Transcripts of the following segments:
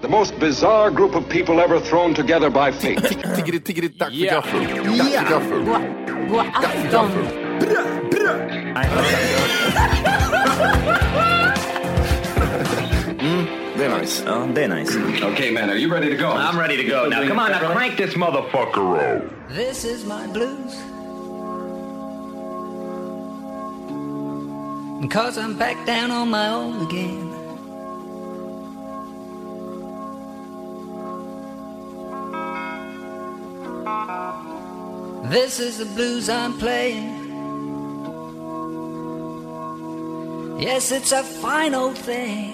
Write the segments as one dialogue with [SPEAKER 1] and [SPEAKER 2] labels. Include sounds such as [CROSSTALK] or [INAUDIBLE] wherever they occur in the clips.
[SPEAKER 1] The most bizarre group of people ever thrown together by fate.
[SPEAKER 2] Eh,
[SPEAKER 3] Tiggeri, tiggeri, tack för gaffel. Tack för gaffel.
[SPEAKER 4] God afton!
[SPEAKER 3] Det är nice.
[SPEAKER 5] Ja, det är Oh, nice.
[SPEAKER 1] okay, man, are you ready to go?
[SPEAKER 5] I'm ready to go. Now come on, now crank this motherfucker up.
[SPEAKER 6] This is my blues. And cause I'm back down on my own again. This is the blues I'm playing. Yes, it's a fine old thing.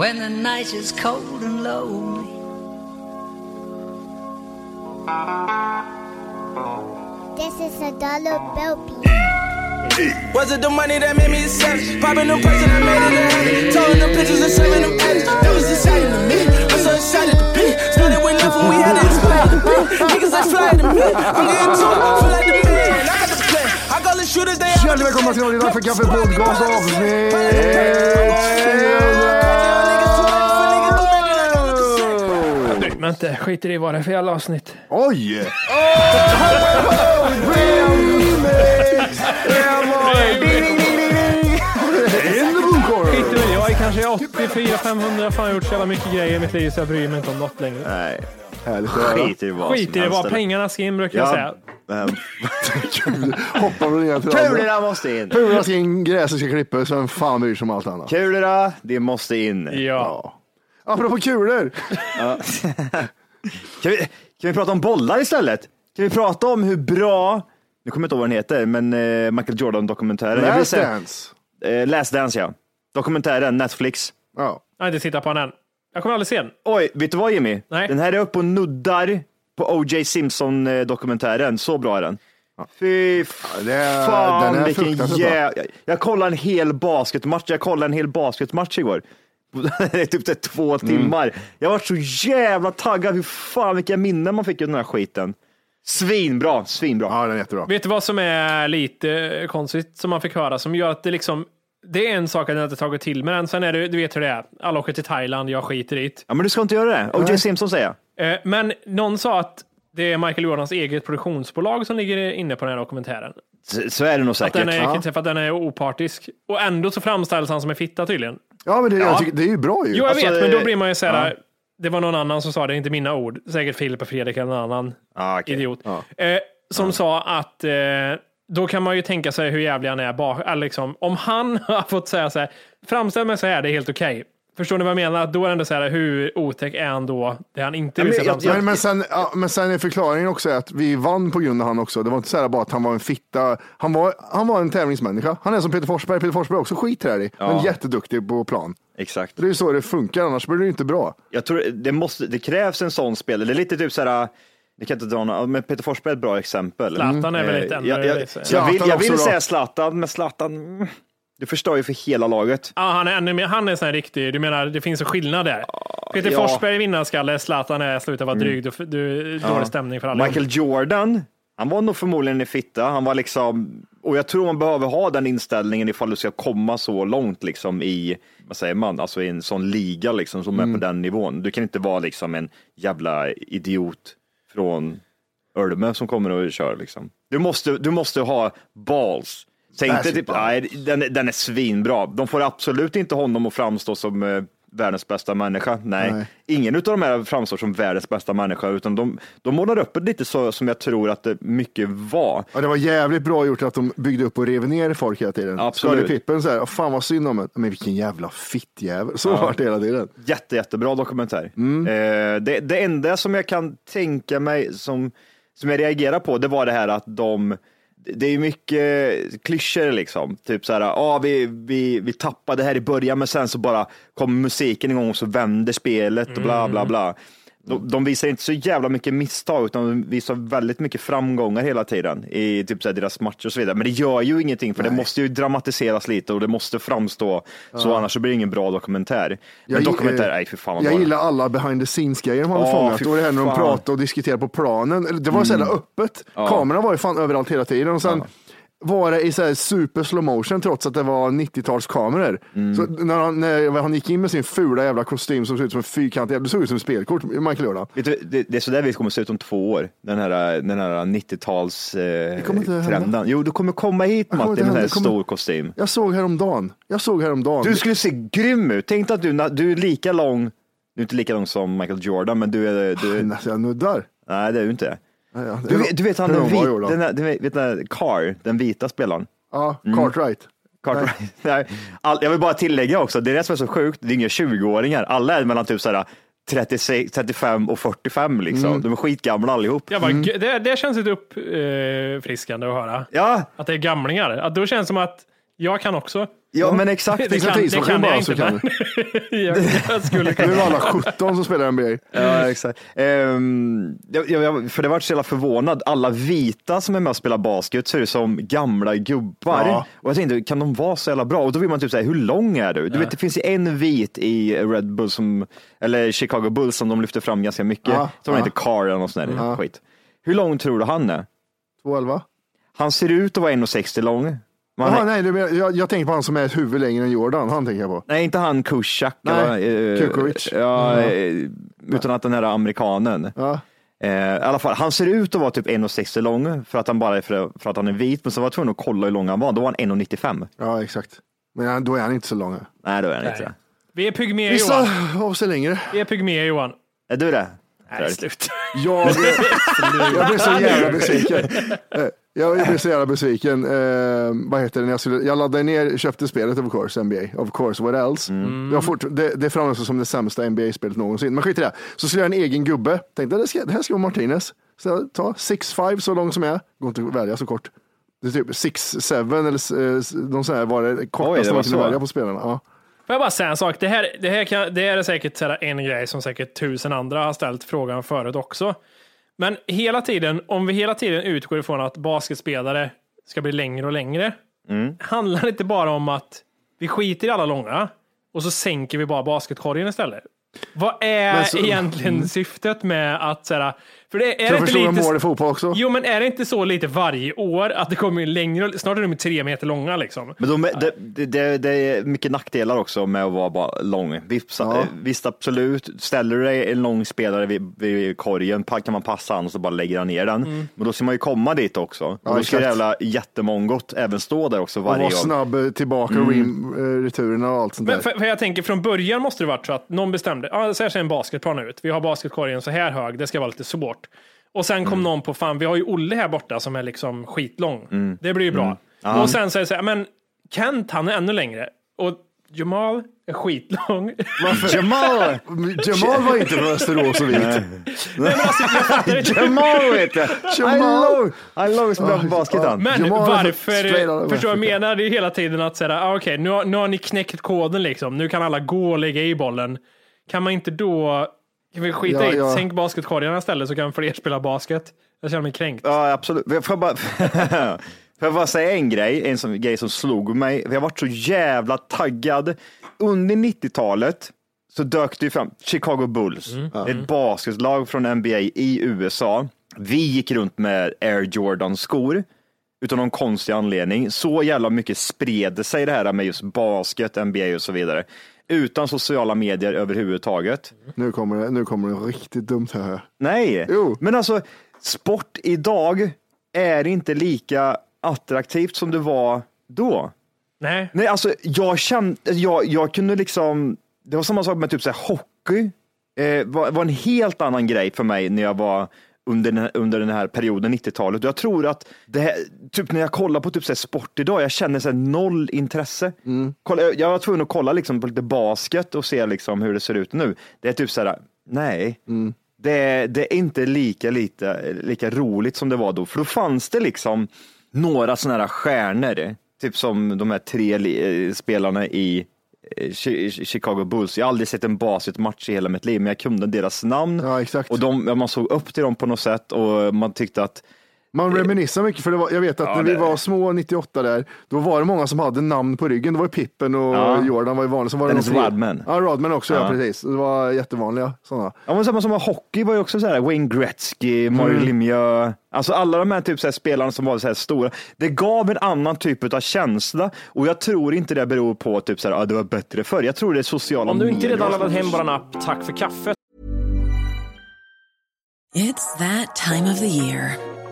[SPEAKER 6] When the night is cold and lonely.
[SPEAKER 7] This is a dollar bill piece.
[SPEAKER 8] Was it the money that made me a savage? Popping the person that made it a habit. Towing the pictures and serving them addicts. That was exciting to me. I'm so excited to be. Started with nothing, we had to explain to me. Niggas that fly to me. I'm getting to it. Feel like the man. I got the plan. I call the shooters, they out
[SPEAKER 3] Hjärtligt välkomna till Oliver för Kaffe Podcast avsnitt...
[SPEAKER 2] Bryr mig inte, skiter i vad det är för jävla avsnitt.
[SPEAKER 3] Oj! In the blue corner.
[SPEAKER 2] Skiter i, jag är kanske 84, 500, fan jag har gjort så jävla mycket grejer i mitt liv så jag bryr mig inte om något längre.
[SPEAKER 5] Nej,
[SPEAKER 3] Härligt att höra.
[SPEAKER 5] skit i vad
[SPEAKER 2] Skit i
[SPEAKER 5] som
[SPEAKER 2] det,
[SPEAKER 5] helst.
[SPEAKER 2] bara pengarna ska in brukar jag
[SPEAKER 5] Ja.
[SPEAKER 2] säga. [LAUGHS]
[SPEAKER 5] Ehm, [LAUGHS]
[SPEAKER 3] Kul. Hoppar från ena till det andra.
[SPEAKER 5] Kulorna måste in!
[SPEAKER 3] Kulorna ska in, gräset ska klippas, vem fan bryr sig om allt annat?
[SPEAKER 5] Kulorna, det måste in.
[SPEAKER 2] Ja.
[SPEAKER 3] Apropå kulor.
[SPEAKER 5] Kan vi, kan vi prata om bollar istället? Kan vi prata om hur bra, nu kommer jag inte ihåg vad den heter, men eh, Michael Jordan-dokumentären. Jag vill
[SPEAKER 3] Last
[SPEAKER 5] säga-
[SPEAKER 3] Dance.
[SPEAKER 5] Eh, Last Dance ja. Dokumentären, Netflix.
[SPEAKER 3] Ja.
[SPEAKER 2] Jag har inte tittat på den än. Jag kommer aldrig se den.
[SPEAKER 5] Oj, vet du vad Jimmy?
[SPEAKER 2] Nej.
[SPEAKER 5] Den här är uppe och nuddar på O.J. Simpson-dokumentären. eh, Så bra är den. Fy
[SPEAKER 3] det är-
[SPEAKER 5] fan
[SPEAKER 3] den är
[SPEAKER 5] vilken
[SPEAKER 3] fruktansvärt
[SPEAKER 5] jä... Jag, jag kollade en hel basketmatch. Jag kollade en hel basketmatch igår. [LAUGHS] det är typ så här två
[SPEAKER 3] Mm.
[SPEAKER 5] timmar. Jag var så jävla taggad. Hur fan vilka minnen man fick av den här skiten. Svinbra, svinbra.
[SPEAKER 3] ja, den är jättebra.
[SPEAKER 2] Vet du vad som är lite eh, konstigt som man fick höra som gör att det liksom det är en sak att jag inte tagit till mig den. Sen är det, du vet hur det är. Alla åker till Thailand, jag skiter i det.
[SPEAKER 5] Ja, men du ska inte göra det. O.J. Simpson säger jag.
[SPEAKER 2] Eh, Men någon sa att det är Michael Jordans eget produktionsbolag som ligger inne på den här dokumentären.
[SPEAKER 5] Så, så är det nog
[SPEAKER 2] Att den
[SPEAKER 5] säkert.
[SPEAKER 2] är, För att den är opartisk. Och ändå så framställs han som en fitta tydligen.
[SPEAKER 3] Ja, men det, jag tycker, det är ju bra ju.
[SPEAKER 2] Jo, jag
[SPEAKER 5] Alltså,
[SPEAKER 2] vet, men då
[SPEAKER 5] eh,
[SPEAKER 2] blir man ju såhär, det var någon annan som sa det, inte mina ord. Säkert Filip och Fredrik eller någon annan
[SPEAKER 5] Ah, okej.
[SPEAKER 2] idiot. Eh, som sa att eh, då kan man ju tänka sig hur jävlig han är. Bak, eller liksom, om han [LAUGHS] har fått säga så här, framställ mig så här, det är helt okej. Förstår ni vad jag menar? Att Då är det ändå så här, hur otäck är han då? Det han inte alltså. vill
[SPEAKER 5] men
[SPEAKER 2] se
[SPEAKER 5] jag-
[SPEAKER 2] framställas.
[SPEAKER 3] Alltså, Men, men, sen, ja, men sen är förklaringen också att vi vann på grund av han också. Det var inte så här bara att han var en fitta. Han var, han var en tävlingsmänniska. Han är som Peter Forsberg. Peter Forsberg är också skitträlig, men jätteduktig på plan.
[SPEAKER 5] Exakt.
[SPEAKER 3] Det är ju så det funkar, annars blir det ju inte bra.
[SPEAKER 5] Jag tror det, måste, det krävs en sån spelare. Det är lite typ så här, jag kan inte dra några, men Peter Forsberg är ett bra exempel.
[SPEAKER 2] Zlatan är väl
[SPEAKER 5] Eh,
[SPEAKER 2] lite ändå-
[SPEAKER 5] jag, jag,
[SPEAKER 2] lite-
[SPEAKER 5] jag vill, jag
[SPEAKER 3] Zlatan också
[SPEAKER 5] vill
[SPEAKER 3] då.
[SPEAKER 5] säga Zlatan, men Zlatan, mm, du förstör ju för hela laget.
[SPEAKER 2] Ja, han är ännu mer, han är en sån här riktig, du menar det finns en skillnad där. Peter
[SPEAKER 5] ja. Mm.
[SPEAKER 2] Forsberg är vinnarskalle, Zlatan är sluta vara dryg, du, du, dålig stämning för alla.
[SPEAKER 5] Michael Jordan, han var nog förmodligen en fitta. Han var liksom, och jag tror man behöver ha den inställningen ifall du ska komma så långt liksom i, vad säger man, alltså i en sån liga liksom som
[SPEAKER 2] Mm.
[SPEAKER 5] är på den nivån. Du kan inte vara liksom en jävla idiot från Ölme som kommer och kör liksom. Du måste, du måste ha balls. Tänk dig typ, nej, den, den är svinbra. De får absolut inte honom att framstå som eh, världens bästa människa. Nej,
[SPEAKER 3] Nej.
[SPEAKER 5] ingen av de här framstår som världens bästa människa, utan de, de målar upp det lite så som jag tror att det mycket var.
[SPEAKER 3] Ja, det var jävligt bra gjort att de byggde upp och rev ner folk hela tiden.
[SPEAKER 5] Absolut.
[SPEAKER 3] Absolut. Pippen så här, "Åh, fan vad synd om en. Men vilken jävla fittjävel. Så var det hela tiden.
[SPEAKER 5] Jätte, jättebra dokumentär. Eh, det, det enda som jag kan tänka mig som, som jag reagerar på, det var det här att de det är mycket klyschor liksom, typ så här, ah, vi, vi, vi tappade här i början men sen så bara kommer musiken igång och så vänder spelet och bla bla bla. De, de visar inte så jävla mycket misstag utan de visar väldigt mycket framgångar hela tiden i typ så här, deras matcher och så vidare. Men det gör ju ingenting för det måste ju dramatiseras lite och det måste framstå så annars så blir det ingen bra dokumentär. Men
[SPEAKER 3] gi-
[SPEAKER 5] dokumentär,
[SPEAKER 3] eh,
[SPEAKER 5] nej fy fan vad
[SPEAKER 3] Jag
[SPEAKER 5] bra.
[SPEAKER 3] gillar alla behind the scenes-grejer de hade
[SPEAKER 5] Ja,
[SPEAKER 3] fångat.
[SPEAKER 5] fy
[SPEAKER 3] Och det här när de
[SPEAKER 5] fan. Mm.
[SPEAKER 3] pratade och diskuterade på planen. Eller, Det var så jävla öppet. Kameran var ju fan överallt hela tiden. Och sen var det i så här super slow motion trots att det var 90-talskameror.
[SPEAKER 5] Mm.
[SPEAKER 3] Så när han, när han gick in med sin fula jävla kostym som såg ut som en fyrkantig jävla, det såg ut som ett spelkort, Michael Jordan.
[SPEAKER 5] Vet du, det, det är sådär vi kommer se ut om två år, den här, den här 90-tals eh,
[SPEAKER 3] kommer inte hända.
[SPEAKER 5] trenden. Jo, du kommer komma hit
[SPEAKER 3] Jag kommer
[SPEAKER 5] Matti
[SPEAKER 3] inte
[SPEAKER 5] med en sån
[SPEAKER 3] hända.
[SPEAKER 5] här
[SPEAKER 3] Det kommer-
[SPEAKER 5] stor kostym.
[SPEAKER 3] Jag såg häromdagen. Jag såg häromdagen.
[SPEAKER 5] Du skulle se grym ut. Tänk dig att du, du är lika lång, du är inte lika lång som Michael Jordan, men du är...
[SPEAKER 3] [LAUGHS]
[SPEAKER 5] Du, är-
[SPEAKER 3] Alltså, jag nuddar.
[SPEAKER 5] nej, det är du inte.
[SPEAKER 3] Ja, ja.
[SPEAKER 5] Du, vet- du vet han
[SPEAKER 3] Hur
[SPEAKER 5] den,
[SPEAKER 3] lång var
[SPEAKER 5] vit,
[SPEAKER 3] Jordan?
[SPEAKER 5] den, Mm. här, den, här- vet den här Carr, den vita spelaren.
[SPEAKER 3] Ja, Cartwright.
[SPEAKER 5] Cartwright. [LAUGHS] Nej. All, jag vill bara tillägga också, det är det som är så sjukt, det är inga 20-åringar, alla är mellan typ så här 36, 35 och 45 liksom.
[SPEAKER 3] Mm.
[SPEAKER 5] De är skitgamla allihop.
[SPEAKER 2] Jag bara, "Gud, det, det känns lite uppfriskande att höra.
[SPEAKER 5] Ja,
[SPEAKER 2] Att det är gamlingar. Att då känns det som att jag kan också. Mm.
[SPEAKER 5] ja men exakt.
[SPEAKER 2] Det kan, det kan jag inte.
[SPEAKER 3] kan
[SPEAKER 2] men jag, [LAUGHS] jag skulle
[SPEAKER 3] Nu är [LAUGHS] det alla 17 som spelar NBA.
[SPEAKER 5] Ja, exakt. Ehm, jag, jag, för det var så jävla förvånad. Alla vita som är med och spelar basket ser ut som gamla gubbar.
[SPEAKER 3] Ja.
[SPEAKER 5] Och jag tänkte, kan de vara så jävla bra? Och då vill man typ säga, hur lång är du? Du vet, det finns ju en vit i Red Bull, som, eller Chicago Bulls som de lyfter fram ganska mycket.
[SPEAKER 3] Ja,
[SPEAKER 5] Som
[SPEAKER 3] ja.
[SPEAKER 5] heter Carr eller något sånt där skit. Hur lång tror du han är?
[SPEAKER 3] 2-11.
[SPEAKER 5] Han ser ut att vara 1,60 lång. Men han,
[SPEAKER 3] Jaha,
[SPEAKER 5] är-
[SPEAKER 3] nej, du menar, jag, jag tänker på han som är ett huvud längre än Jordan. Han tänker jag på.
[SPEAKER 5] Nej, inte han Kushak.
[SPEAKER 3] Nej,
[SPEAKER 5] eller, eh,
[SPEAKER 3] Kukovic.
[SPEAKER 5] Ja, eh, Utan att den här amerikanen.
[SPEAKER 3] Ja.
[SPEAKER 5] Eh, I alla fall, han ser ut att vara typ 1,60 lång för att han bara är för, för att han är vit, men så var jag tvungen att kolla hur lång han var. Då var han 1,95.
[SPEAKER 3] Ja, exakt. Men han, då är han inte så lång.
[SPEAKER 5] Nej, då är han inte
[SPEAKER 2] Vi är pygméer
[SPEAKER 3] Vissa
[SPEAKER 2] Johan.
[SPEAKER 3] av sig längre.
[SPEAKER 2] Vi är pygméer Johan.
[SPEAKER 5] det. Är du det?
[SPEAKER 2] Nej, slut.
[SPEAKER 3] Jag, jag blev så jävla besviken. Eh, Jag, jag blev så jävla besviken. Eh, vad heter det? när Jag, skulle, jag laddade ner, köpte spelet of course, NBA. Of course, what else?
[SPEAKER 5] Mm.
[SPEAKER 3] Det, var fort, det, det framstår som det sämsta NBA-spelet någonsin. Men skit i det. Så skulle jag göra en egen gubbe. Tänkte det, ska, det här ska vara Martinez. Så jag tar 6-5 så lång som jag är. Går inte att välja så kort. Det är typ 6-7 eller eh, någon sån här var det
[SPEAKER 5] Oj, det
[SPEAKER 3] kortaste
[SPEAKER 5] var
[SPEAKER 3] man kunde
[SPEAKER 5] så.
[SPEAKER 3] välja på spelarna. Ja.
[SPEAKER 2] Får jag bara säga en sak? Det här, det här, kan, det här är säkert så här en grej som säkert tusen andra har ställt frågan förut också. Men hela tiden, om vi hela tiden utgår ifrån att basketspelare ska bli längre och längre,
[SPEAKER 3] Mm.
[SPEAKER 2] handlar det inte bara om att vi skiter i alla långa och så sänker vi bara basketkorgen istället? Vad är
[SPEAKER 3] Men så- Mm.
[SPEAKER 2] egentligen syftet med att så här, för det
[SPEAKER 3] För
[SPEAKER 2] är det
[SPEAKER 3] att
[SPEAKER 2] inte
[SPEAKER 3] förstå
[SPEAKER 2] lite...
[SPEAKER 3] hur mål i fotboll också.
[SPEAKER 2] Jo, men är det inte så lite varje år att det kommer ju längre och snart är de ju tre meter långa liksom?
[SPEAKER 5] Men de, det, det, det, det är mycket nackdelar också med att vara bara lång. Visst, eh, visst absolut, ställer du dig en lång spelare vid, vid korgen pa- kan man passa han och så bara lägger han ner den. Men då ska man ju komma dit också. Och då ska
[SPEAKER 3] exakt.
[SPEAKER 5] jävla jättemongot även stå där också
[SPEAKER 3] Och
[SPEAKER 5] varje
[SPEAKER 3] vara
[SPEAKER 5] gång. Mm.
[SPEAKER 3] snabb eh, tillbaka, rim, eh, returerna och allt sånt där.
[SPEAKER 2] Men för, för jag tänker från början måste det varit så att någon bestämde, ja, så här ser en basketplan ut, vi har basketkorgen så här hög, det ska vara lite svårt. Och sen
[SPEAKER 3] Mm.
[SPEAKER 2] kom någon på, fan vi har ju Olle här borta som är liksom skitlång,
[SPEAKER 3] Mm.
[SPEAKER 2] det blir ju bra. Och sen så är det så här, men Kent han är ännu längre. Och Jamal är skitlång.
[SPEAKER 5] Jamal!
[SPEAKER 3] Jamal var inte från Västerås och vit.
[SPEAKER 5] Jamal vet du!
[SPEAKER 3] Jamal!
[SPEAKER 5] Jamal! Han är lång som bra på basket han.
[SPEAKER 2] Men
[SPEAKER 3] Jamal är straight out
[SPEAKER 2] varför,
[SPEAKER 3] of
[SPEAKER 2] förstår jag
[SPEAKER 3] Africa.
[SPEAKER 2] menar, det är hela tiden att säga, ah, okej nu, har- nu har ni knäckt koden liksom, nu kan alla gå och lägga i bollen. Kan man inte då, kan vi skita
[SPEAKER 3] Ja,
[SPEAKER 2] i,
[SPEAKER 3] ja.
[SPEAKER 2] sänk basketkorgarna istället så kan fler spela basket. Jag känner mig kränkt.
[SPEAKER 5] Ja, absolut. Får jag, bara, får jag bara säga en grej, en som, grej som slog mig. Jag har varit så jävla taggad. Under 90-talet så dök det ju fram Chicago Bulls, ett basketlag från NBA i USA. Vi gick runt med Air Jordan-skor utan någon konstig anledning. Så jävla mycket spred sig det här med just basket, NBA och så vidare. Utan sociala medier överhuvudtaget.
[SPEAKER 3] Nu kommer det, nu kommer det riktigt dumt här.
[SPEAKER 5] Nej,
[SPEAKER 3] Jo.
[SPEAKER 5] men alltså sport idag är inte lika attraktivt som det var då?
[SPEAKER 2] Nej.
[SPEAKER 5] Nej, alltså jag kände, jag, jag kunde liksom, det var samma sak med typ så här, hockey. Eh, var, var en helt annan grej för mig när jag var under den, under den här perioden, 90-talet. Jag tror att det här, typ när jag kollar på typ så här sport idag, jag känner så här noll intresse. Kolla, jag jag var tvungen att kolla liksom på lite basket och se liksom hur det ser ut nu. Det är typ så här, nej. Det, är- det är inte lika, lika, lika roligt som det var då, för då fanns det liksom några sådana här stjärnor, typ som de här tre li- eh, spelarna i eh, Chi- Chicago Bulls. Jag har aldrig sett en basketmatch i hela mitt liv, men jag kunde deras namn
[SPEAKER 3] Ja, exakt.
[SPEAKER 5] och de, ja, man såg upp till dem på något sätt och man tyckte att
[SPEAKER 3] Man reminissar mycket, för det var, jag vet att
[SPEAKER 5] Ja,
[SPEAKER 3] när vi
[SPEAKER 5] det-
[SPEAKER 3] var små 98 där, då var det många som hade namn på ryggen. Det var ju Pippen och
[SPEAKER 5] Ja.
[SPEAKER 3] Jordan var ju vanliga. Sen var det
[SPEAKER 5] Dennis
[SPEAKER 3] någon fler.
[SPEAKER 5] Rodman.
[SPEAKER 3] Ja, Rodman också, ja.
[SPEAKER 5] Ja.
[SPEAKER 3] precis. Det var jättevanliga sådana.
[SPEAKER 5] Ja, men samma som var hockey var ju också så här, Wayne Gretzky, Mario
[SPEAKER 3] Mm.
[SPEAKER 5] Lemieux, alltså alla de här typ så här spelarna som var så här stora. Det gav en annan typ av känsla och jag tror inte det beror på typ så här, ah, det var bättre förr. Jag tror det är sociala
[SPEAKER 9] Om du inte
[SPEAKER 5] medier.
[SPEAKER 9] redan laddat hem bara en app, tack för kaffet.
[SPEAKER 10] It's that time of the year.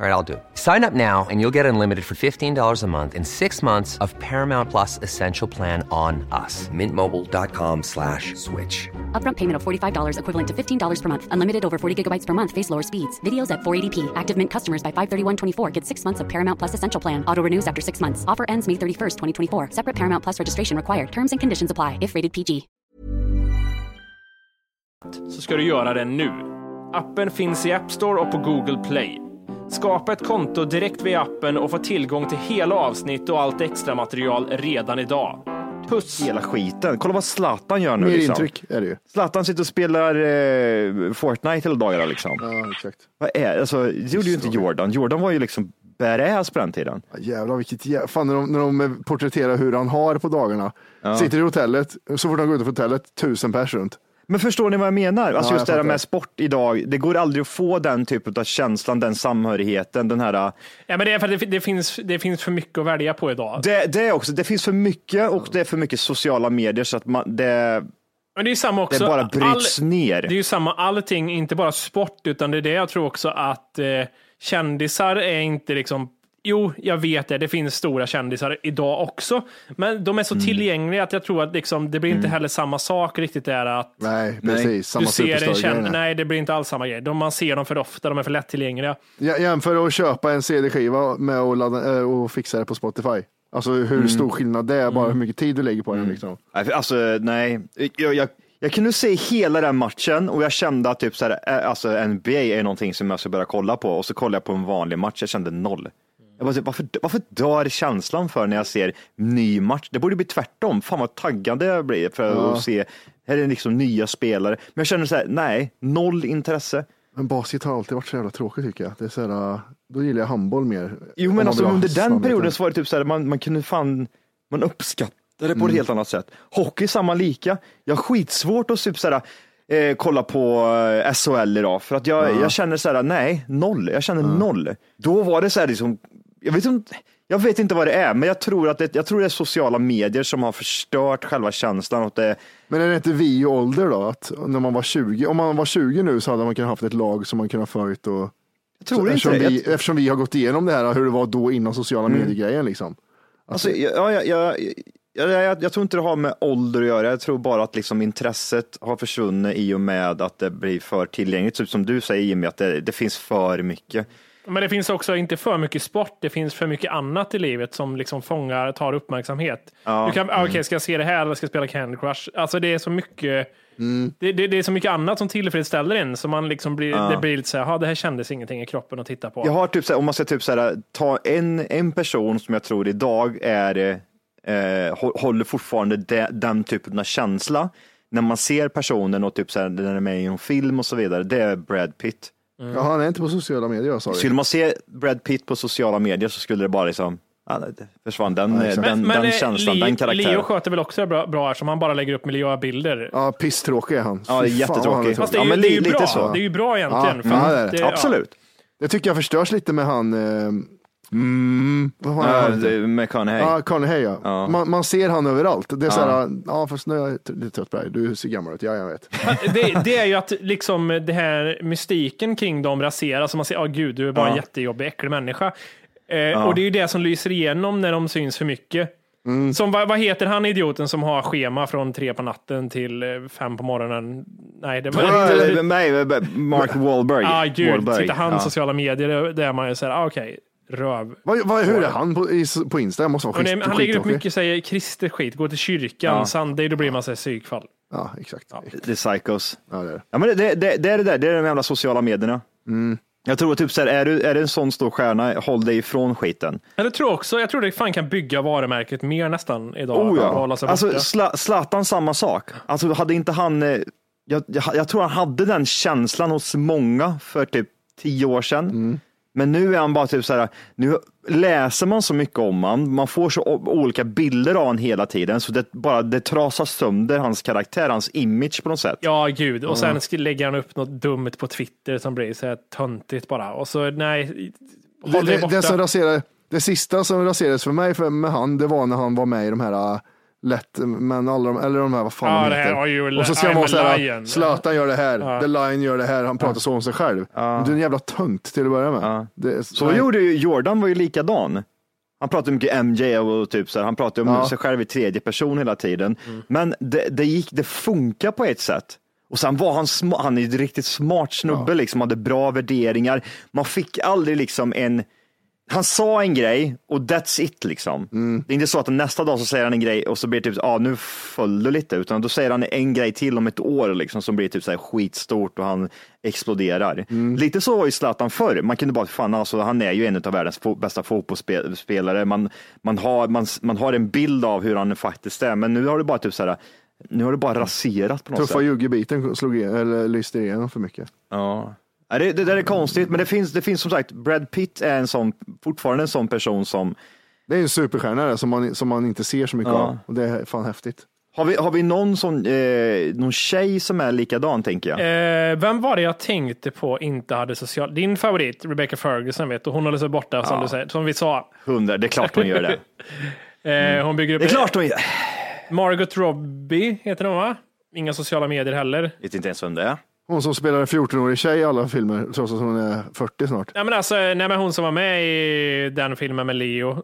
[SPEAKER 11] All right, I'll do it. Sign up now and you'll get unlimited for $15 a month and six months of Paramount Plus Essential Plan on us. Mintmobile.com slash switch.
[SPEAKER 4] Upfront payment of $45 equivalent to $15 per month. Unlimited over 40 gigabytes per month. Face lower speeds. Videos at 480p. Active Mint customers by 531.24 get six months of Paramount Plus Essential Plan. Auto renews after six months. Offer ends May 31st, 2024. Separate Paramount Plus registration required. Terms and conditions apply if rated PG.
[SPEAKER 9] så ska du göra det nu. Appen finns i App Store och på Google Play. Skapa ett konto direkt via appen och få tillgång till hela avsnitt och allt extra material redan idag. Puss!
[SPEAKER 5] Hela skiten. Kolla vad Zlatan gör nu.
[SPEAKER 3] Mer
[SPEAKER 5] liksom.
[SPEAKER 3] intryck är det ju.
[SPEAKER 5] Zlatan sitter och spelar eh, Fortnite hela dagarna. Liksom.
[SPEAKER 3] Ja, exakt.
[SPEAKER 5] Vad är, alltså, det gjorde ju inte Jordan. Jordan var ju liksom badass på den tiden.
[SPEAKER 3] Ja, Jävlar vilket jävla... Fan när de, när de porträtterar hur han har på dagarna.
[SPEAKER 5] Ja.
[SPEAKER 3] Sitter i hotellet, så fort han går ut från hotellet, tusen pers runt.
[SPEAKER 5] Men förstår ni vad jag menar? Alltså
[SPEAKER 3] Ja,
[SPEAKER 5] just det
[SPEAKER 3] jag
[SPEAKER 5] här
[SPEAKER 3] fattar.
[SPEAKER 5] med sport idag, det går aldrig att få den typen av känslan, den samhörigheten, den här...
[SPEAKER 2] Ja, men det är för att det, det, finns, det finns för mycket att välja på idag.
[SPEAKER 5] Det, det är också, det finns för mycket och det är för mycket sociala medier så att man, det,
[SPEAKER 2] Men det är ju samma också.
[SPEAKER 5] det bara bryts
[SPEAKER 2] all-
[SPEAKER 5] ner.
[SPEAKER 2] Det är ju samma allting, inte bara sport, utan det är det jag tror också att eh, kändisar är inte liksom Jo, jag vet det. Det finns stora kändisar idag också, men de är
[SPEAKER 5] Mm.
[SPEAKER 2] så tillgängliga att jag tror att liksom, det blir inte heller samma sak riktigt där att
[SPEAKER 3] Nej, precis. Samma
[SPEAKER 2] du ser en
[SPEAKER 3] superstar-grejerna.
[SPEAKER 2] känd... Nej, det blir inte alls samma grej. De, man ser dem för ofta, de är för lättillgängliga.
[SPEAKER 3] Ja, jämför att köpa en CD-skiva med att ladda, eh, och fixa det på Spotify. Alltså hur
[SPEAKER 5] Mm.
[SPEAKER 3] stor skillnad det är, bara hur mycket tid du lägger på den. Liksom.
[SPEAKER 5] Nej, för- Alltså nej, jag, jag, jag kunde se hela den matchen och jag kände att typ så här, eh, alltså NBA är någonting som jag ska börja kolla på och så kollade jag på en vanlig match, jag kände noll. Jag bara, typ, varför, varför dör känslan för när jag ser ny match? Det borde bli tvärtom. Fan vad taggad jag blir för
[SPEAKER 3] Ja.
[SPEAKER 5] att se, här är liksom nya spelare. Men jag känner så här, nej, noll intresse.
[SPEAKER 3] Men basket har alltid varit så jävla tråkigt tycker jag. Det är så här, då gillar jag handboll mer.
[SPEAKER 5] Jo
[SPEAKER 3] Om
[SPEAKER 5] men
[SPEAKER 3] man
[SPEAKER 5] alltså
[SPEAKER 3] vill ha liksom.
[SPEAKER 5] under
[SPEAKER 3] snabbheten.
[SPEAKER 5] den perioden så var det typ så här, man, man kunde fan, man uppskattade det på
[SPEAKER 3] Mm.
[SPEAKER 5] ett helt annat sätt. Hockey samma lika. Jag har skitsvårt att typ så här, eh, kolla på eh, SHL idag för att jag,
[SPEAKER 3] Ja.
[SPEAKER 5] jag känner så här, nej, noll. Jag känner noll. Då var det så här liksom, jag vet inte, jag vet inte vad det är, men jag tror att det, jag tror det är sociala medier som har förstört själva känslan. Och det,
[SPEAKER 3] Men är det inte vi i ålder då? Att när man var 20, om man var 20 nu så hade man kunnat haft ett lag som man kunnat följt. Och,
[SPEAKER 5] jag Mm. tror inte
[SPEAKER 3] eftersom,
[SPEAKER 5] det.
[SPEAKER 3] vi, eftersom vi har gått igenom det här, hur det var då innan sociala medier-grejen. Liksom.
[SPEAKER 5] Alltså, ja, ja, ja, ja, ja, jag, jag tror inte det har med ålder att göra. Jag tror bara att liksom intresset har försvunnit i och med att det blir för tillgängligt. Typ som du säger Jimmy, att det, det finns för mycket.
[SPEAKER 2] Men det finns också inte för mycket sport, det finns för mycket annat i livet som liksom fångar, tar uppmärksamhet.
[SPEAKER 5] Ja. Mm.
[SPEAKER 2] Du kan, ah, okej, ska jag se det här eller ska jag spela Candy Crush? Alltså det är så mycket, det, det, det är så mycket annat som tillfredsställer en, så man liksom blir,
[SPEAKER 5] Mm. Ja.
[SPEAKER 2] det blir lite så här, "Ha, det här kändes ingenting i kroppen att titta på.
[SPEAKER 5] Jag har typ, så här, om man ska typ så här, ta en, en person som jag tror idag är, eh, hå- håller fortfarande de, den typen av känsla. När man ser personen och typ så här, när den är med i en film och så vidare, det är Brad Pitt.
[SPEAKER 3] Jaha, han är inte på sociala medier, jag sa det.
[SPEAKER 5] Skulle man se Brad Pitt på sociala medier så skulle det bara liksom, ja, det försvann den, den, den,
[SPEAKER 2] eh,
[SPEAKER 5] känslan,
[SPEAKER 2] Leo,
[SPEAKER 5] den karaktären.
[SPEAKER 2] Leo sköter väl också det bra, bra här som han bara lägger upp miljöbilder.
[SPEAKER 3] Ja, pisstråkig är han.
[SPEAKER 5] Ja,
[SPEAKER 3] Fy fan,
[SPEAKER 5] jättetråkig.
[SPEAKER 3] vad han tråkig.
[SPEAKER 2] Fast det är ju, det är ju bra. Det är ju bra egentligen.
[SPEAKER 5] Mm.
[SPEAKER 2] för
[SPEAKER 3] ja,
[SPEAKER 2] att
[SPEAKER 3] det är det.
[SPEAKER 2] ja.
[SPEAKER 3] Det tycker jag förstörs lite med han, eh, mm, vad var
[SPEAKER 5] Ja,
[SPEAKER 3] han Ah,
[SPEAKER 5] det är McConaughey.
[SPEAKER 3] Ja, Carnegie. Ja.
[SPEAKER 5] Ja.
[SPEAKER 3] Man, man ser han överallt. Det är så
[SPEAKER 5] Ja.
[SPEAKER 3] här, ja fast nu är jag lite trött på dig, du ser gammal ut, ja jag vet.
[SPEAKER 2] det, det är ju att liksom det här mystiken kring dem raseras och man säger, åh gud, du är bara en
[SPEAKER 3] Ja.
[SPEAKER 2] jättejobbig, äcklig människa. Eh, Och det är ju det som lyser igenom när de syns för mycket.
[SPEAKER 3] Mm.
[SPEAKER 2] Som, vad, vad heter han idioten som har schema från tre på natten till eh, fem på morgonen? Nej, det var
[SPEAKER 5] Ja, nej, Mark Wahlberg.
[SPEAKER 2] Ah, gud,
[SPEAKER 5] Wahlberg.
[SPEAKER 2] titta han
[SPEAKER 5] Ja.
[SPEAKER 2] sociala medier, det- det är man ju såhär, ah, okej, röv.
[SPEAKER 3] Vad, vad, hur är han på, i, på Insta? Jag måste vara
[SPEAKER 2] Men,
[SPEAKER 3] skit,
[SPEAKER 2] det- han lägger upp
[SPEAKER 3] skittråkig.
[SPEAKER 2] mycket säger kristet skit, gå till kyrkan,
[SPEAKER 5] Ja.
[SPEAKER 2] Sunday, då blir man såhär psykfall.
[SPEAKER 3] Ja, exakt.
[SPEAKER 5] The Psychos.
[SPEAKER 3] Ja, det är det.
[SPEAKER 5] Ja, men det, det, det, det är det där, det är de jävla sociala medierna.
[SPEAKER 3] Mm.
[SPEAKER 5] Jag tror typ så här, är du, är du en sån stor stjärna, håll dig ifrån skiten.
[SPEAKER 2] Men jag tror också, jag tror det fan kan bygga varumärket mer nästan idag.
[SPEAKER 5] Oh
[SPEAKER 2] att
[SPEAKER 5] ja.
[SPEAKER 2] hålla sig
[SPEAKER 5] Alltså
[SPEAKER 2] borta.
[SPEAKER 5] Zla- Zlatan samma sak. Alltså hade inte han, eh, jag, jag, jag tror han hade den känslan hos många för typ tio år sedan. Men nu är han bara typ så här, nu läser man så mycket om han, man får så o- olika bilder av han hela tiden så det bara det trasar sönder hans karaktär, hans image på något sätt.
[SPEAKER 2] Ja, gud. Och
[SPEAKER 5] Mm.
[SPEAKER 2] sen sk- lägger han upp något dumt på Twitter som blir så här töntigt bara. Och så nej,
[SPEAKER 3] Det,
[SPEAKER 2] håll dig
[SPEAKER 3] det,
[SPEAKER 2] borta.
[SPEAKER 3] det, som raserade, det sista som raserades för mig för, med han, det var när han var med i de här äh, lätt, men alla de, eller de här, vad fan
[SPEAKER 2] Ja,
[SPEAKER 3] de
[SPEAKER 2] det här
[SPEAKER 3] heter.
[SPEAKER 2] var ju-
[SPEAKER 3] och så ska
[SPEAKER 2] I'm
[SPEAKER 3] han
[SPEAKER 2] a
[SPEAKER 3] vara så här,
[SPEAKER 2] lion.
[SPEAKER 3] Zlatan gör det här,
[SPEAKER 2] Ja.
[SPEAKER 3] The Lion gör det här, han pratar så om sig själv. Men Du är en jävla tönt till att börja med. Det är-
[SPEAKER 5] Så gjorde ju Jordan var ju likadan. Han pratade mycket MJ och typ så här, han pratade om
[SPEAKER 3] Ja.
[SPEAKER 5] sig själv i tredje person hela tiden. Men det, det gick, det funkar på ett sätt. Och sen var han sma- han är ju en riktigt smart snubbe liksom, hade bra värderingar. Man fick aldrig liksom en, han sa en grej och that's it liksom. Det är inte så att nästa dag så säger han en grej och så blir det typ, ja ah, nu föll det lite, utan då säger han en grej till om ett år liksom som blir typ så här skitstort och han exploderar. Lite så var ju Zlatan förr, man kunde bara, fan alltså han är ju en av världens fo- bästa fotbollsspelare, man, man, har, man, man har en bild av hur han faktiskt är, men nu har du bara typ så här, nu har du bara raserat på något
[SPEAKER 3] Tuffa
[SPEAKER 5] sätt.
[SPEAKER 3] juggebiten slog igen, eller lyste igenom för mycket.
[SPEAKER 5] Ja. Ja, Det, det där är konstigt, men det finns, det finns som sagt, Brad Pitt är en sån, fortfarande en sån person som
[SPEAKER 3] Det är en superstjärna där, som man, som man inte ser så mycket
[SPEAKER 5] Ja.
[SPEAKER 3] av. Och det är fan häftigt.
[SPEAKER 5] Har vi, har vi någon, sån, eh, någon tjej som är likadan tänker jag?
[SPEAKER 2] Eh, vem var det jag tänkte på inte hade social... Din favorit, Rebecca Ferguson, vet du. Hon håller sig borta, som,
[SPEAKER 5] Ja.
[SPEAKER 2] du säger, som vi sa.
[SPEAKER 5] Hundra, det är klart hon gör det.
[SPEAKER 2] [LAUGHS]
[SPEAKER 5] Mm.
[SPEAKER 2] Eh, hon bygger upp...
[SPEAKER 5] Det är klart hon gör
[SPEAKER 2] Margot Robbie heter hon, va? Inga sociala medier heller.
[SPEAKER 5] Vet inte ens vem det är.
[SPEAKER 3] Hon som spelar en 14-årig tjej i alla filmer, trots att hon är 40 snart.
[SPEAKER 2] Nej, men alltså, nej, men hon som var med i den filmen med Leo. Eh,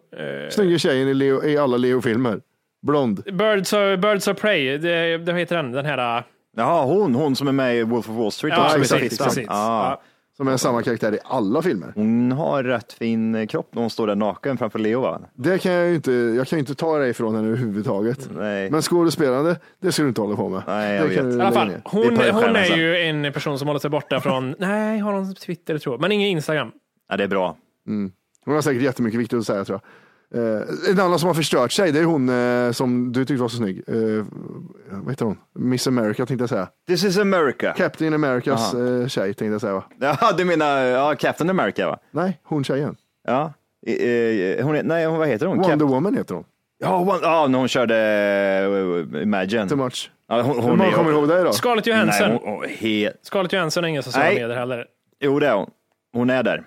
[SPEAKER 3] Snygga tjejen i, Leo, i alla Leo-filmer. Blond.
[SPEAKER 2] Birds of, Birds of Prey, det, det heter den, den här...
[SPEAKER 5] Jaha, hon, hon som är med i Wolf of Wall Street
[SPEAKER 2] Ja,
[SPEAKER 5] också.
[SPEAKER 2] precis,
[SPEAKER 5] med fittan.
[SPEAKER 2] precis.
[SPEAKER 5] Ja.
[SPEAKER 3] Som är samma karaktär i alla filmer.
[SPEAKER 5] Hon har rätt fin kropp när hon står där naken framför Leo va?
[SPEAKER 3] Det kan jag ju inte, jag kan ju inte ta det ifrån henne överhuvudtaget.
[SPEAKER 5] Nej.
[SPEAKER 3] Men skådespelande, det ska du inte hålla på med.
[SPEAKER 5] Nej, jag
[SPEAKER 3] det kan
[SPEAKER 5] vet.
[SPEAKER 3] du
[SPEAKER 2] I alla
[SPEAKER 3] lägga
[SPEAKER 2] fall,
[SPEAKER 3] ner.
[SPEAKER 2] hon,
[SPEAKER 5] Det är alltså.
[SPEAKER 2] hon
[SPEAKER 5] Pojkstjärnan
[SPEAKER 2] är
[SPEAKER 5] sen.
[SPEAKER 2] ju en person som håller sig
[SPEAKER 5] [LAUGHS]
[SPEAKER 2] borta från, nej, har hon Twitter tror jag, men ingen Instagram.
[SPEAKER 5] Ja, det är bra.
[SPEAKER 3] Hon har säkert jättemycket viktigt att säga tror jag. Eh, en annan som har förstört sig, det är hon eh, som du tyckte var så snygg. Eh, vad heter hon? Miss America tänkte jag säga.
[SPEAKER 5] This is America.
[SPEAKER 3] Captain Americas
[SPEAKER 5] Aha.
[SPEAKER 3] eh, tjej tänkte jag säga va?
[SPEAKER 5] Ja, [LAUGHS] du menar ja, Captain America va?
[SPEAKER 3] Nej, hon tjejen.
[SPEAKER 5] Ja. Eh, eh, Hon, är- nej, hon- vad heter hon?
[SPEAKER 3] Wonder
[SPEAKER 5] Cap-
[SPEAKER 3] Woman heter hon.
[SPEAKER 5] ja, Wonder- ja, när hon körde eh, Imagine.
[SPEAKER 3] Too much.
[SPEAKER 5] Ja, hon,
[SPEAKER 3] Hur
[SPEAKER 5] hon
[SPEAKER 3] många
[SPEAKER 5] är,
[SPEAKER 3] kommer ihåg det då?
[SPEAKER 2] Scarlett Johansson.
[SPEAKER 5] Nej, hon, hon, he,
[SPEAKER 2] Scarlett Johansson är ingen sociala
[SPEAKER 5] Nej.
[SPEAKER 2] medier heller.
[SPEAKER 5] jo, det är hon. Hon är där.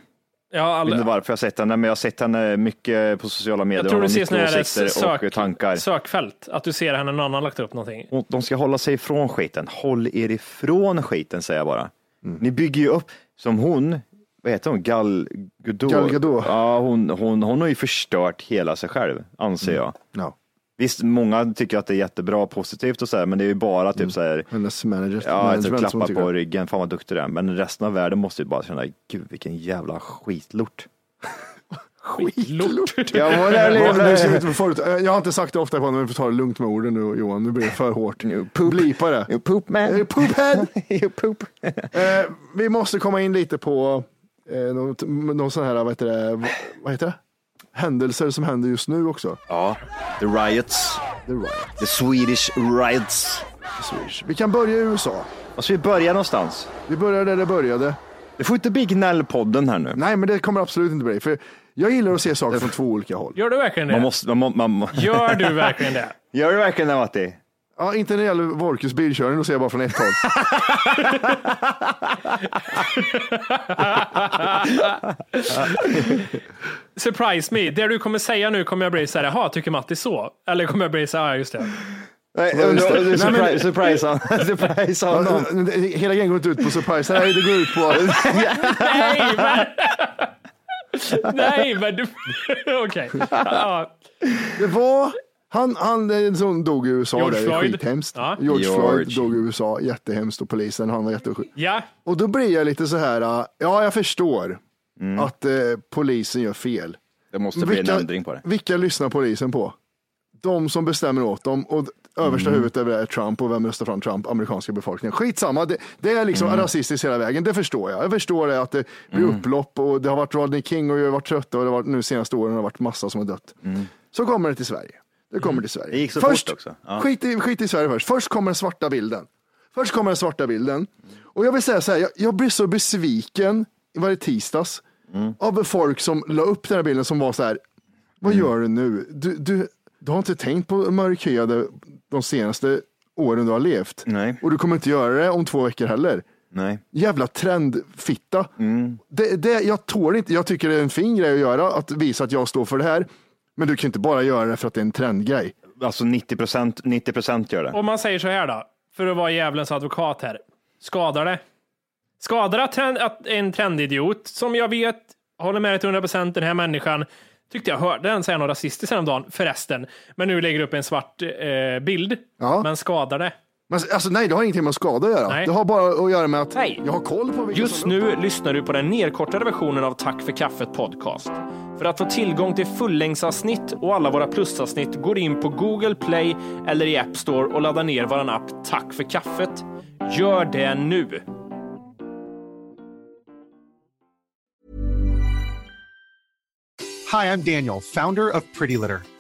[SPEAKER 2] Ja,
[SPEAKER 5] Jag vet inte
[SPEAKER 2] all,
[SPEAKER 5] varför jag har sett henne, men jag har sett henne mycket på sociala medier.
[SPEAKER 2] jag tror
[SPEAKER 5] Hon
[SPEAKER 2] du
[SPEAKER 5] har
[SPEAKER 2] ser såna
[SPEAKER 5] mycket
[SPEAKER 2] här
[SPEAKER 5] åsikter
[SPEAKER 2] sök,
[SPEAKER 5] och tankar.
[SPEAKER 2] sökfält, att du ser henne när någon har lagt upp någonting.
[SPEAKER 5] Och De ska hålla sig ifrån skiten. Håll er ifrån skiten, säger jag bara.
[SPEAKER 3] Mm.
[SPEAKER 5] Ni bygger ju upp, som hon, vad heter hon, Gal Gadot?
[SPEAKER 3] Gal Gadot.
[SPEAKER 5] Ja, hon, hon, hon har ju förstört hela sig själv, anser
[SPEAKER 3] Mm.
[SPEAKER 5] jag.
[SPEAKER 3] Ja.
[SPEAKER 5] Visst, många tycker att det är jättebra och positivt och så här, men det är ju bara typ så här,
[SPEAKER 3] Hennes manager.
[SPEAKER 5] ja, att
[SPEAKER 3] management Mm. som
[SPEAKER 5] klappa
[SPEAKER 3] hon tycker
[SPEAKER 5] på
[SPEAKER 3] om.
[SPEAKER 5] ryggen, fan vad duktig du är. Men resten av världen måste ju bara känna, gud vilken
[SPEAKER 3] [LAUGHS]
[SPEAKER 5] jävla skitlort.
[SPEAKER 2] Skitlort.
[SPEAKER 5] Ja, hon är
[SPEAKER 3] Ja, men det ser ut som förut. Eh, Jag har inte sagt det ofta på honom, men vi får ta det lugnt med orden nu Johan. Nu blir det för hårt. Blipa det.
[SPEAKER 5] You poop man.
[SPEAKER 3] Eh,
[SPEAKER 5] [LAUGHS]
[SPEAKER 3] Poophead!
[SPEAKER 5] you poop.
[SPEAKER 3] Eh, vi måste komma in lite på eh, något, någon sån här, vad heter, det, vad, vad heter det? Händelser som händer just nu också.
[SPEAKER 5] Ja, the riots.
[SPEAKER 3] The riot,
[SPEAKER 5] The Swedish riots.
[SPEAKER 3] the Swedish. Vi kan börja i USA.
[SPEAKER 5] Och så vi börjar någonstans.
[SPEAKER 3] Vi börjar där det började.
[SPEAKER 5] Det får inte bli gnällpodden här nu.
[SPEAKER 3] Nej, men det kommer absolut inte bli. För jag gillar att se saker från två olika håll.
[SPEAKER 2] Gör du verkligen det?
[SPEAKER 5] Man måste, man, må- man, må-
[SPEAKER 2] Gör du verkligen det?
[SPEAKER 5] Gör du verkligen det Matti?
[SPEAKER 3] Ja, inte när det gäller Wolkes bilkörning, då ser jag bara från ett [LAUGHS] håll.
[SPEAKER 2] Surprise me. Det du kommer säga nu kommer jag bli så här, jaha, tycker Matti så? Eller kommer jag bli så här, ja just det.
[SPEAKER 5] Nej,
[SPEAKER 3] Ja, just det.
[SPEAKER 5] du- du-
[SPEAKER 3] Nej, men-
[SPEAKER 5] surpri- Surprise [LAUGHS] honom. Surprise honom.
[SPEAKER 3] Ja, det- Hela grejen går inte ut på surprise. Nej, det går ut på... [LAUGHS]
[SPEAKER 2] Nej, men... Nej, men du... [LAUGHS] Okej. Ja,
[SPEAKER 3] Det var... Han, han eh, som dog i USA,
[SPEAKER 2] George
[SPEAKER 3] där, det är
[SPEAKER 2] Floyd.
[SPEAKER 3] skithemskt.
[SPEAKER 2] Ja.
[SPEAKER 3] George, Floyd
[SPEAKER 5] George.
[SPEAKER 3] dog i USA, jättehemskt och polisen, han var jättesjuk.
[SPEAKER 2] ja.
[SPEAKER 3] Och då blir jag lite så här, eh, ja jag förstår att eh, polisen gör fel.
[SPEAKER 5] Det måste bli en ändring på det.
[SPEAKER 3] Vilka lyssnar polisen på? De som bestämmer åt dem och d- översta
[SPEAKER 5] Mm.
[SPEAKER 3] huvudet över det är Trump och vem röstar fram Trump? Amerikanska befolkningen. Skitsamma, det, det är liksom
[SPEAKER 5] Mm.
[SPEAKER 3] rasistiskt hela vägen, det förstår jag. Jag förstår det att det blir upplopp och det har varit Rodney King och jag har varit trött och det har varit, nu senaste åren har det varit massa som har dött.
[SPEAKER 5] Mm.
[SPEAKER 3] Så kommer det till Sverige. Det kommer till Sverige.
[SPEAKER 5] Det gick så
[SPEAKER 3] först,
[SPEAKER 5] fort också. Ja.
[SPEAKER 3] Skit, i, skit i Sverige först. Först kommer den svarta bilden. Först kommer den svarta
[SPEAKER 5] Mm.
[SPEAKER 3] bilden. Och jag vill säga så här, jag, jag blir så besviken, var det tisdags,
[SPEAKER 5] Mm.
[SPEAKER 3] av folk som la upp den här bilden som var så här, vad
[SPEAKER 5] Mm.
[SPEAKER 3] gör du nu? Du, du, du har inte tänkt på mörk hy de- de senaste åren du har levt.
[SPEAKER 5] Nej.
[SPEAKER 3] Och du kommer inte göra det om två veckor heller.
[SPEAKER 5] Nej.
[SPEAKER 3] Jävla trendfitta. Det, det, jag tål inte, jag tycker det är en fin grej att göra, att visa att jag står för det här. Men du kan inte bara göra det för att det är en trendgrej.
[SPEAKER 5] Alltså 90 procent, 90 procent gör det.
[SPEAKER 2] Om man säger så här då, för att vara djävulens advokat här. Skadar det? Skadar det att, trend, att en trendidiot, som jag vet håller med dig till 100 procent, den här människan, tyckte jag hörde den säga något rasistiskt häromdagen, förresten, men nu lägger upp en svart eh, bild.
[SPEAKER 3] Ja.
[SPEAKER 2] Men skadar det?
[SPEAKER 3] Men, alltså, nej, det har ingenting med skada att göra.
[SPEAKER 2] Nej.
[SPEAKER 3] Det har bara att göra med att
[SPEAKER 9] Nej.
[SPEAKER 3] jag har koll på vilka
[SPEAKER 9] Just
[SPEAKER 3] som...
[SPEAKER 9] nu lyssnar du på den nedkortade versionen av Tack för kaffet podcast. För att få tillgång till fullängdsavsnitt och alla våra plusavsnitt går in på Google Play eller i App Store och laddar ner vår app Tack för kaffet. Gör det nu!
[SPEAKER 12] Hi, I'm Daniel, founder of Pretty Litter.